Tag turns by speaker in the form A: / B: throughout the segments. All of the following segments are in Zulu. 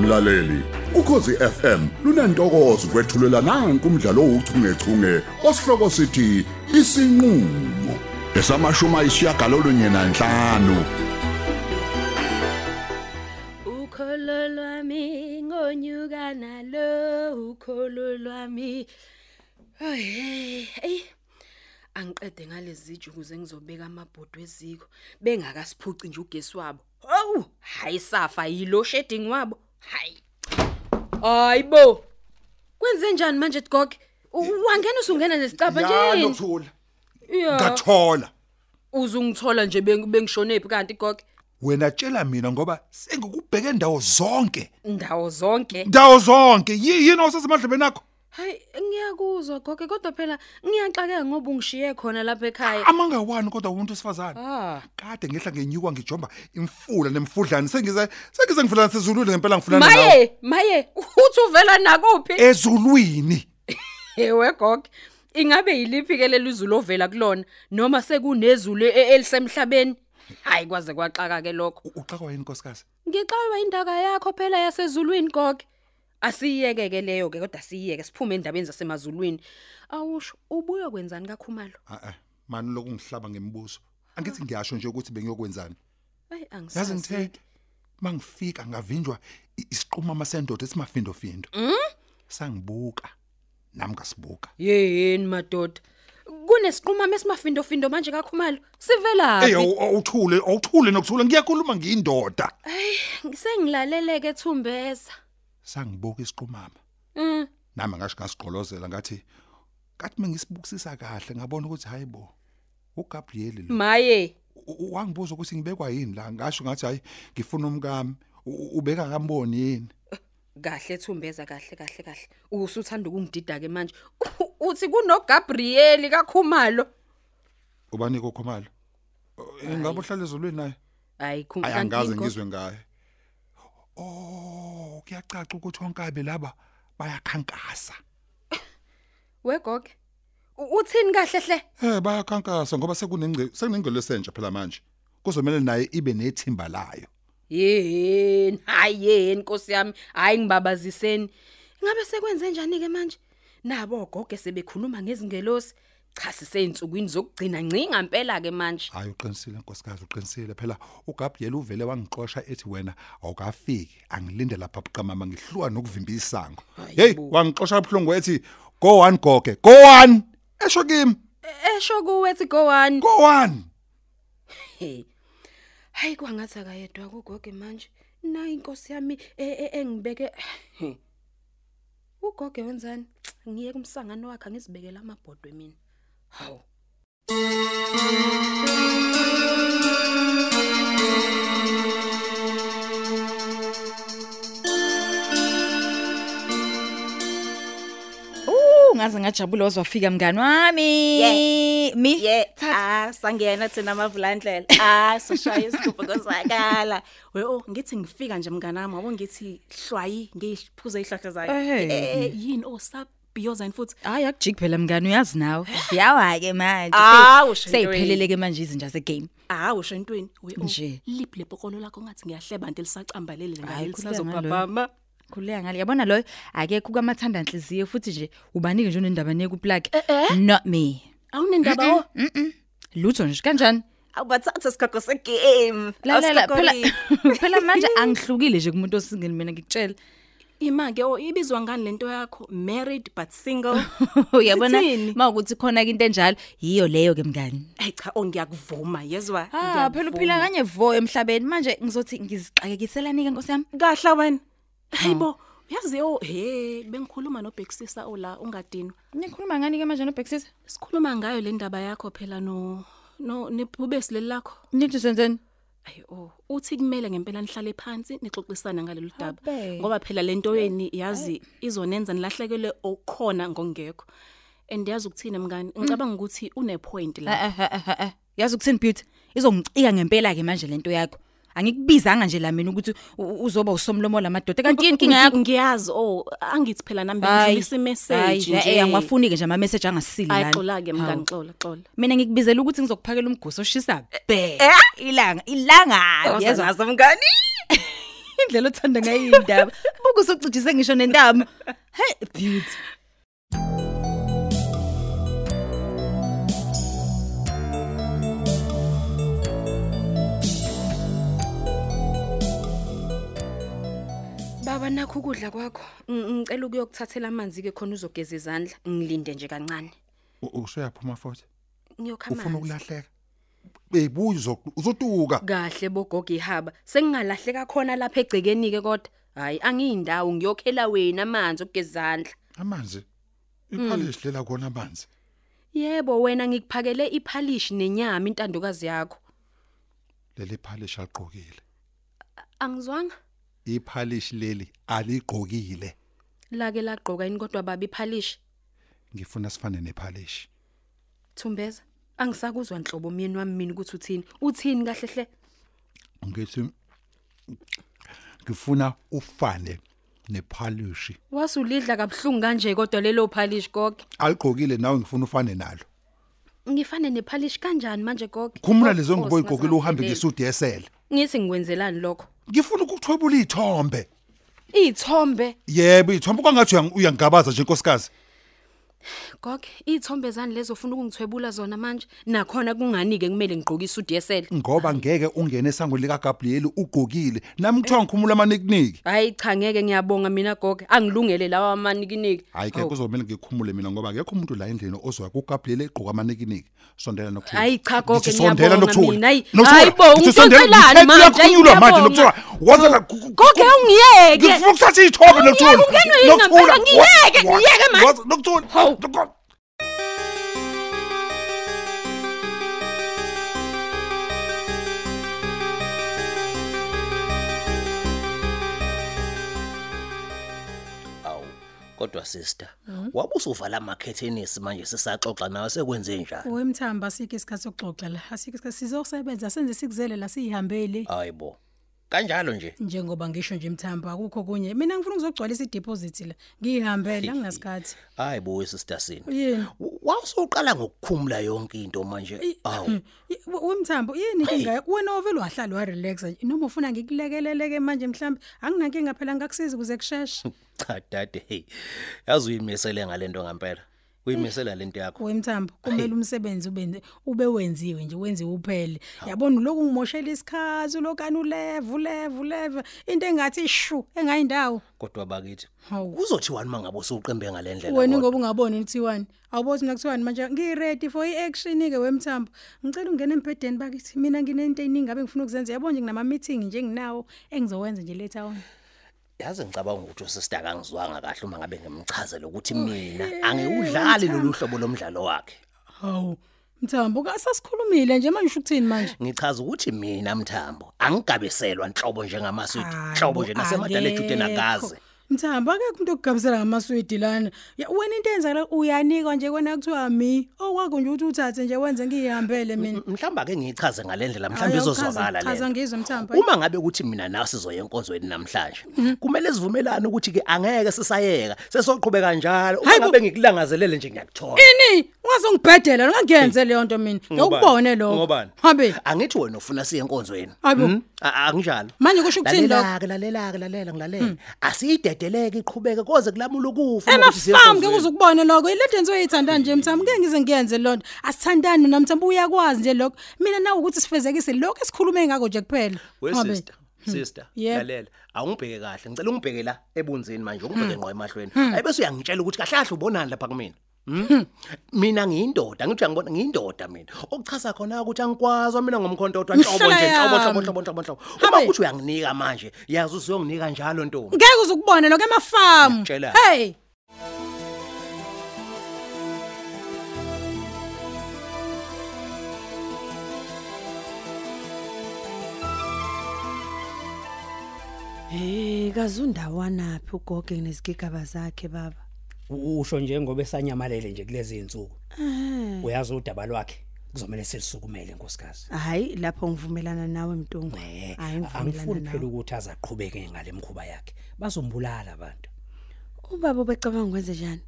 A: mlaleli ukhosi FM lunantokozo kwethulela nange kumdlalo ouchungechunge osihloko sithi isinqulo esamashuma isiyagalolunye nanhlanu
B: ukholo lwami ngonyuka nalo ukholo lwami hey ey angiqede ngalezi juku zengizobeka amabhodo eziko bengakasiphuci nje ugesi wabo hawu hayi safa yilo shedding wabo hayi ayibo kwenze njani manje gogo wangena usungena nesicaba nje yini?
C: nothula
B: Ya,
C: ngathola
B: uzungithola nje beng- bengishonephi kanti gogo
C: wena tshela mina ngoba sengikubheke ndawo zonke
B: ndawo zonke
C: ndawo zonke Yi- yini osesemadlebeni akho
B: Hayi ngiyakuzwa gogo kodwa phela ngiyaxakeka ngoba ungishiye khona lapha ekhaya.
C: amangawani kodwa umuntu wesifazane
B: Ah,
C: kade ngehla ngenyuka ngijomba imfula nemfudlani sengize sengize ngifulana sezulwini ngempela ngifulana nawe Eh.
B: maye maye uthi uvela nakuphi?
C: ezulwini
B: Ewe gogo. Ingabe yiliphi ke leli izulu ovela kulona noma sekunezulu e- elisemhlabeni? Hayi kwaze kwaxaka ke lokho.
C: uxakwa yini nkosikazi
B: Ngixawe indaka yakho phela yasezulwini gogo. Asiyeke ke leyo ke kodwa siyeke siphume endabeni zasemazulwini. Awusho ubuye kwenzani kakhumalo?
C: a a mani lokungihlaba ngemibuzo angithi
B: Ah.
C: ngiyasho nje ukuthi bengiyokwenzani
B: Hayi
C: yazi
B: angisazi.
C: ngithe mangifika ngavinjwa i- isiqhuma amasendoda esimafindo findo
B: Hmm?
C: sangibuka nami ngasibuka
B: Yeyeni madoda. Kunesiqhuma mesimafindo findo manje kakhumalo. Sivelaphi?
C: Ey awuthule awuthule nokuthula ngiyakhuluma ngiyindoda
B: Sengilaleleke Thumbesa.
C: sangibuka isiqhumama
B: Mm.
C: nami ngasho ngasigqolozela ngathi kathi mengisibukisisa kahle ngabona ukuthi hayibo uGabriel lo
B: Maye.
C: U- u- wangibuza ukuthi ngibekwa yini la ngasho ngathi hayi ngifuna umkami U- u- ubeka kamboni yini
B: Kahle Thumbesa kahle kahle kahle. Usuthanda ukungidida ke manje. U- Uthi kuno Gabriel kaKhumalo.
C: ubanike ukhomalo ngabe "Eh, uhlale ezolweni naye
B: Hayi
C: Ayi, angaze
B: Khumalo.
C: ngizwe ngaye oh kuyacaca ukuthi onkabe laba bayakhankasa
B: Wegoke. U- Uthini kahle hle?
C: Eh bayakhankasa ngoba sekunengce sekunengcelo sentsha phela manje. Kuzomela naye ibe nethimba layo.
B: Yeyeni, hayi yeyeni Nkosi yami, hayi ngibabaziseni. Ngabe sekwenze njani ke manje? Nabo gogo sebekhuluma ngezingelosi. Cha siseinsukwini zokugcina ncinga impela ke manje.
C: Hayi uqinisile nkosikazi uqinisile phela uGabriel uvele wangiqosha ethi wena awukafiki angilinde lapha buqamama ngihlwa nokuvimba isango.
B: Hayi
C: Hey
B: bo.
C: wangiqosha ebhlungu ethi go one goge go one esho kimi
B: Esho kuwe ethi go one.
C: go one
B: Hey. Hayi kwangathi akayedwa kugogo manje. Na inkosi yami e- e- engibeke He. Ugogo wenzani? Ngiye kumsangano wakhe ngizibekela amabhodwe mina. Hawu.
D: Uh ngaze ngajabula wazwafika mngani wami. Mi
E: ye ah sangena thina amavulandlela ah soshaya isigubhu kozakala we oh ngithi ngifika nje mngani wami wabo ngithi hlwayi ngiyiphuza ihlahla zayo
D: Ehhe.
E: Eh, yini oh sabhiyoza yini futhi
D: Hayi akujik phela mngani uyazi nawe. Siyawa ke manje.
E: Awu,
D: Se-
E: shinto
D: Seyiphelele ke manje izinja ze game.
E: hawo shentweni we oh
D: Nje.
E: lip lepokolo lakho ngathi ngiyahleba anti lisacambalele
D: Hhayi,
E: ngale
D: khululeka
E: lisazobhabhama
D: Khuleka ngale. Yabona loyo akekho kwamathandana inhliziyo futhi nje ubanike nje unendaba neku plug.
E: Eh,
D: Not me.
E: awunendaba oh
D: Lutho nje kanjani?
E: awubathatha sikhago segame
D: Lalela phela
E: Awusikhokheli.
D: phela manje angihlukile nje kumuntu osingile mina ngikutshela.
E: ima ke oh ibizwa ngani lento yakho married but single
D: Uyabona
E: Sithini?
D: mawukuthi khona ke into enjalo yiyo leyo ke mngani.
E: Hey cha oh ngiyakuvuma yezwa
D: Ah phela uphila
E: ngiyakuvuma.
D: kanye vo emhlabeni manje ngizothi ngizixakekiselani ke Nkosi yami.
E: kahle wena
D: Mm.
E: hayibo yazi oh he bengikhuluma nobhekisisa oh, ola ungadini
D: Nikhuluma ngani ke manje nobhekisisa?
E: sikhuluma ngayo le ndaba yakho phela no no niphube sileli lakho
D: Nithi senzeni?
E: ayi oh uthi kumele ngempela nihlale phansi nixoxisana ngalolu daba
D: Habe.
E: ngoba phela lento yeni yazi izonenza nilahlekele okukhona ngongekho and yazi ukuthina mngani ngicabanga ukuthi une point la
D: Eh, eh, eh, eh. Yazi ukuthini beauty? Izongicika ngempela ke manje lento yakho. Angikubizanga nje la mina ukuthi u- uzoba usomlomo lamadoda kanti yini inkinga yakho?
E: Ngi- ngiyazi oh angithi phela nami ngidlulisa imessage
D: hayi, eh,
E: nje
D: eh, angwafunike nje ama message angasili lana.
E: ayixola ke mngani
D: Hawu.
E: xola xola
D: Mina ngikubizela ukuthi ngizokuphakela umgosi oshisa be. Ilanga, ilanga. Yezwa
E: yazi mngani
D: indlela othanda ngayo indaba. Ubuke usucujise ngisho nentamo. Hey beauty.
B: Baba nakho ukudla kwakho. Ng- Ngicela ukuyokuthathela amanzi ke khona uzogeza izandla. Ngilinde nje kancane.
C: Usoyaphuma futhi.
B: Ngiyokha
C: Ufuna
B: amanzi.
C: ukulahleka. Beyibuya uzo- uzotuka.
B: Kahle bogogo ihaba. Sengingalahleka khona lapha egcekeni ke kodwa. Hayi angiyindawo ngiyokhela wena amanzi okugezandla.
C: Amanzi.
B: Hmm.
C: Iphalish lela kona amanzi.
B: Yebo wena ngikuphakele iphalish nenyama intandokazi yakho.
C: Leli phalish aliqokile.
B: Angizwanga?
C: Iphalish leli aligqokile.
B: Lake lagqoka ini kodwa baba iphalish.
C: Ngifuna sifane nephalish.
B: Thumbeza. Angisakuzwa inhlobo myeni wami mina ukuthi uthini. Uthini kahle hle?
C: Ngithi ngifuna ufane nephalish.
B: Wasulidla kabhlungu kanje kodwa lelo phalish gogo.
C: Aligqokile nawe ngifuna ufane nalo.
B: Ngifane nephalish kanjani manje gogo?
C: Khumula
B: Gogo,
C: lezo ngubo igqokile uhambe
B: singazideleli.
C: ngesudi esele.
B: Ngithi ngikwenzelani lokho?
C: Ngifuna ukuthwebula izithombe.
B: Izithombe.
C: Yebo, izithombe kwangathi uyang- uyangigabaza nje inkosikazi.
B: Gogo, izithombe zani lezo ufuna ukungithwebula zona manje? Nakhona kungani ke kumele ngigqoke isudi yesele?
C: Ngoba ngeke ungene esangweni lika Gabriel ugqokile. Nami ngithiwa ngikhumula amanikiniki.
B: Hayi cha ngeke ngiyabonga mina gogo. Angilungele lawa amanikiniki.
C: Hayi ke kuzomela ngikhumule mina ngoba akekho umuntu la endlini ozoya kuGabriel egqoka amanikiniki. Sondela nokuthula.
B: Hayi cha gogo,
C: Ngithi sondela
B: ngiyabonga
C: nokuthula.
B: mina. Hayi,
C: Nokuthula.
B: hayi bo,
C: Ngithi sondela-
B: ngitshontshelani
C: ngithe
B: manje, hayi,
C: ngiyakunyulwa manje
B: ngiyabonga.
C: nokuthula. Waza la
B: Gogo ungiyeke.
C: Ngifuna ukuthatha izithombe nokuthula.
B: Ungiyeke, ungenwe yini ngempela? Ngiyeke, ngiyeke manje.
C: Waza nokuthula.
B: Hawu.
C: Nokuthula.
F: awu kodwa sister
G: Mm-hmm.
F: wabusuvala amakhethenisi manje sisaxoxa nawe sekwenze njani
G: Wemthamba sikho isikhathi sokuxoxa la. Asikho isikhathi sizosebenza senze sikuzele la sihambele.
F: hayibo kanjalo nje
G: Njengoba ngisho nje mthamba akukho kunye. Mina ngifuna ukuzogcwalisa ideposit la. Ngihambele anginasikhathi.
F: hayibo sister sini
G: Yini?
F: wawusuqala ngokukhumula yonke into manje
G: mm-hmm.
F: awu
G: Wemthambo yini inkinga wena ovelo wahlala wa relaxa nje. Noma ufuna ngikulekeleleke manje mhlambi anginankinga phela ngakusiza ukuze kusheshe.
F: cha dade hey yazi uyimisele ngalento ngempela uyimisela lento yakho
G: Wemthambo kumele umsebenzi ubenze ube wenziwe nje wenziwe uphele. Yabona lokhu ngimoshela isikhathi lokani uleva uleva uleva into engathi shu engayindawo.
F: kodwa bakithi
G: Hawu.
F: kuzothiwani mangabe usuqembe ngalendlela
G: wena ngoba ungaboni kuthiwani awubothi mina kuthiwani manje ngiready for i-action ke wemthambo ngicela ungena embhedeni bakithi mina nginento eyiningi abe ngifuna ukuzenza yabo nje nginama-meeting nje nginawo engizowenza nje le town
F: yazi ngicabanga ukuthi usister kangizwanga kahle uma ngabe ngimchazela
G: Oh,
F: ukuthi mina angiwudlali lolu hlobo lomdlalo wakhe
G: hawu mthambo kasasikhulumile nje manje usho ukuthini manje
F: ngichaza ukuthi mina mthambo angigabiselwa nhlobo njengamaswidi
G: Hayi
F: hlobo
G: bo,
F: nje nasemadelejudeni
G: akekho.
F: akaze
G: mthambo akekho umuntu okugabisela ngamaswidi lana Ya, wena into eyenzakala uyanikwa nje kwena kuthiwa mi okwakho nje ukuthi uthathe nje wenze ngiyihambele mina
F: mhlawumbe ake ngiyichaze ngale ndlela mhlawumbe
G: Hhayi, awuchaze,
F: izozwakala
G: chaza
F: le
G: ngizwe mthambo Mhm.
F: uma ngabe ukuthi mina nawe sizoya enkonzweni namhlanje kumele sivumelane ukuthi-ke angeke sisayeka sesoqhubeka njalo uma
G: Hayi bo. Eh,
F: ngabe ngikulangazelele nje ngiyakuthola
G: ini ungazongibhedela ngangenze leyo nto mina ngokubone lokho
F: ngobani
G: habe
F: angithi wena ufuna siye enkonzweni
G: Hayi bo.
F: Mm? A- anginjalo
G: Manje kusho ukuthini lokho? Hmm.
F: Lalela-ke, lalela-ke lalela ngilalela asiyidedeleke iqhubeke koze kulamula ukufa uma ukuthi siya
G: emafamu ngeke
F: enkonzweni.
G: uze ukubone lokho iledo enziwe yithandani nje mthambo ngeke ngize ngiyenze loo nto asithandani nami mthambo uyakwazi nje lokho mina nawe ukuthi sifezekise lokho esikhulume ngako nje kuphela Ngabe-
F: wesister sister
G: Yebo.
F: lalela awungibheke kahle ngicela ungibheke la ebunzini manje ungibheke ngqo emahlweni ayibese uyangitshela ukuthi kahle kahle ubonani lapha kumina Mm. mina ngiyindoda ngithi uyangibona ngiyindoda mina okuchaza khona ukuthi angikwazi mina ngomkhonto odwa nhlobo
G: Mhlala
F: nje nhlobo
G: yami.
F: nhlobo nhlobo nhlobo nhlobo uma
G: Habe.
F: kuthi uyanginika manje yazi usiyonginika njalo ntombi
G: ngeke uze ukubone lokho emafamu
F: Ngiyakutshela.
G: hey
H: Hey, kazundawana phi ugogo nezigigaba zakhe baba?
I: usho njengoba esanyamalele nje kulezi insuku
H: Eh,
I: uyazi udaba lwakhe kuzomele selisukumele nkosikazi
H: hayi lapho ngivumelana nawe Mtungu.
I: Eh,
H: Hayi
I: angifuni
H: ngivumelana
I: phela
H: nawe.
I: ukuthi azaqhubeke ngale mkhuba yakhe bazombulala abantu
H: Ubaba ubecabanga ukwenze njani?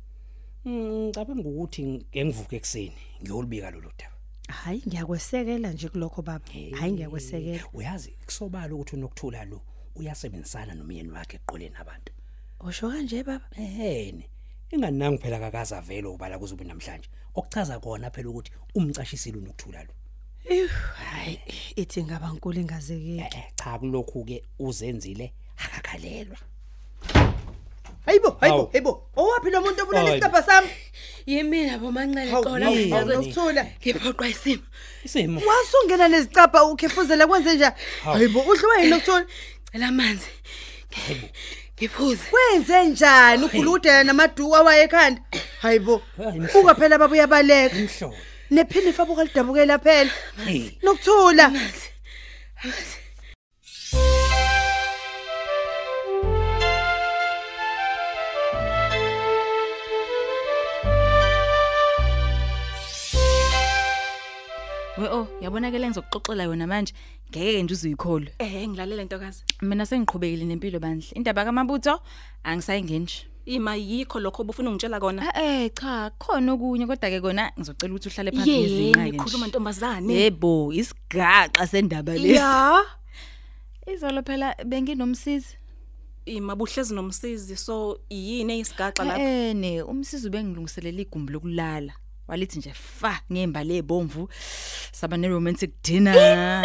H: Hmm,
I: Mm, ngicabanga ukuthi ngivuke ekseni ngiyolibika lolu daba
H: Hayi, ngiyakwesekela nje kulokho baba. Hayi ngiyakwesekela.
I: uyazi kusobala ukuthi unokuthula lo uyasebenzisana nomyeni wakhe eqoleni abantu
H: Osho kanje baba.
I: ehene ingani nangu phela kakaza vele ubala kuze ube namhlanje okuchaza kona phela ukuthi umcashisile unokuthula lo
H: Ew, hayi ithi ngaba nkulu ingazekeki.
I: Eh, eh, cha kulokhu ke uzenzile akakhalelwa
E: Hayibo,
I: hayibo,
E: hayibo. Owaphi lo muntu obulala
I: Hayi.
E: isicabha sami?
B: Yimina bomancele
E: Hawu,
B: xola
I: yini?
B: mina
I: Hawu,
E: Ngiyakuthola.
B: ngiphoqwa isimo.
I: isimo
E: Wasungena nezicabha ukhefuzela kwenze nje. Hayibo, udliwe yini nokuthola?
B: Cela amanzi. Ngi- Ngiphuze.
E: Kwenze njani ukhuludela namaduku awaye ekhanda? Hayibo.
I: Hayi, mhla-
E: Buka phela babuya baleka.
I: umhlobo
E: Nephini fabuka lidabukela phela.
I: hey
E: Nokuthola.
D: we oh yabonakele ngizokuxoxela yona manje ngeke nje uzuyikholwe
E: Eh, ngilalela ntokazi.
D: mina sengiqhubekile nempilo bandle indaba kamabutho angisayingeni nje
E: Ima yikho lokho obufuna ungitshela kona.
D: eh cha khona okunye kodwa ke kona ngizocela ukuthi uhlale phansi
E: Yeyini
D: ngezinqa
E: ikhuluma ntombazane?
D: yebo isigaxa sendaba lesi
E: Ya.
D: izolo phela benginomsizi
E: Ima buhlezi nomsizi so yini isigaxa lapha?
D: eh ne umsizi ubengilungiselela igumbi lokulala walithi nje fa ngembali ebomvu saba ne romantic dinner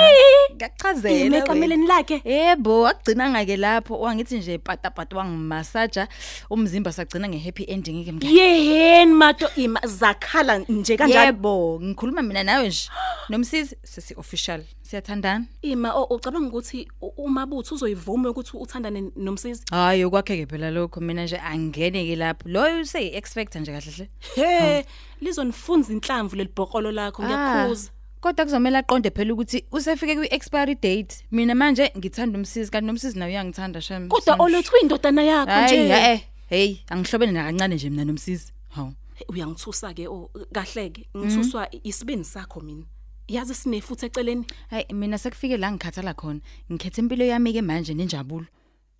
D: ngiyachazela wena.
E: Imekameleni lakhe.
D: Yebo, agcinanga ke lapho, wangithi nje patapata wangimasaja, umzimba sagcina ngehappy ending ke mngani.
E: Yeheni mato ima zakhala nje kanjalo.
D: Yebo, ngikhuluma mina nawe nje. Nomsisi sisi official. Siyathandana?
E: Ima o- ucabanga ukuthi u- umabutho uzoyivuma ukuthi uthandane nomsizi?
D: Hayi, okwakheke phela lokho mina nje angene ke lapho. Loyo usey expect nje kahle hle.
E: He, lizonifunza inhlamvu lelibhokolo
D: Ah,
E: lakho ngiyakhuza.
D: Kodwa kuzomela aqonde phela ukuthi usefike kwi expiry date. Mina manje ngithanda umsisi kanti nomsisi nawe uyangithanda shame.
E: Kodwa olothu indodana yakho
D: Hayi,
E: nje.
D: eh, hey, angihlobene nakancane nje mina nomsisi. Hawu.
E: Uyangithusa ke o kahleke,
D: Mhm.
E: ngithuswa isibindi sakho mina. Yazi sinefuthe eceleni
D: Hayi mina sekufike la ngikhathala khona. Ngikhethe impilo yami ke manje nenjabulo.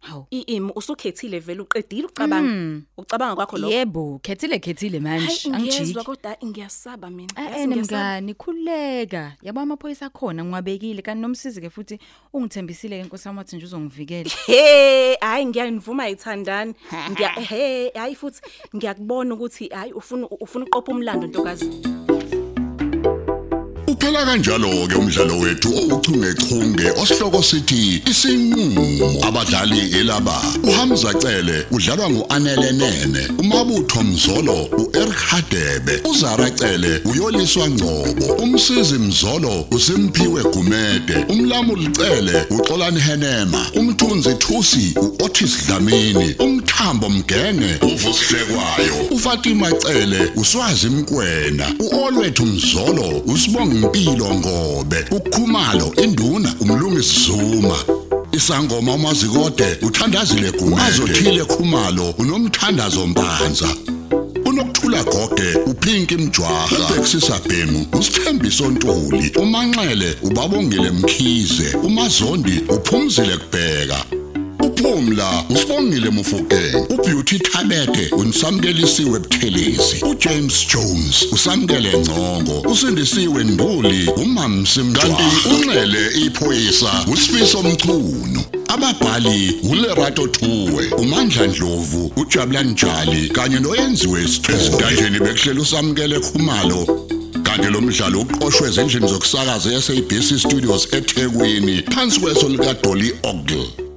D: Hawu.
E: iimi usukhethile vele uqedile ucabanga. Ucabanga kwakho lokho.
D: Yebo, khethile khethile manje.
E: Hayi ngiyezwa
D: Mm. Angijiki.
E: kodwa ngiyasaba mina.
D: Eh
E: Yazi ngiyasaba.
D: mngani, khuleka. Yabo amaphoyisa khona ngiwabekile kanti nomsizi ke futhi ungithembisile ke Nkosi yami wathi nje uzongivikela.
E: Hey, hayi ngiyanivuma ayithandani. Ngiya hey, hayi futhi ngiyakubona ukuthi hayi ufuna ufuna uqopha umlando ntokazi.
A: Uphela kanjalo ke umdlalo wethu ouchungechunge osihloko sithi isinqulo abadlali elaba uHamza Cele udlalwa nguAnele Nene uMabutho Mzolo uEric Hadebe uZara Cele uyoliswa Ngcobo umsizi Mzolo uSimphiwe Gumede umlamuli Cele uXolani Henema umthunzi Thusi uOtis Dlamini umthambo Mgenge uvusihlekwayo uFatima Cele uswazi Mkwena uOlwethu Mzolo usibonga impilo ngobe ukhumalo induna umlungisi Zuma Isangoma umazikode uthandazile gumazo thile khumalo unomthandazo mpanza unokuthula gogwe uphinki mjwaha ubexisa bhemu usithembiso ntuli umanxele ubabongile mkhize umazondi uphumzile kubheka uphumla usibongile mufuke ubeauty thabete unsamkelisiwe buthelezi ujames jones usamkele ngcongo usindisiwe nduli umamsimkanti unxele iphoyisa usifiso mchunu ababhali ulerato thuwe umandla ndlovu ujabulani njali kanye noyenziwe esiqezintanjeni bekuhlela usamkele khumalo kanti lo mdlalo uqoqwwe ezindlini zokusakaza yaseBC Studios eThekwini phansi kweso lika Dolly Ogle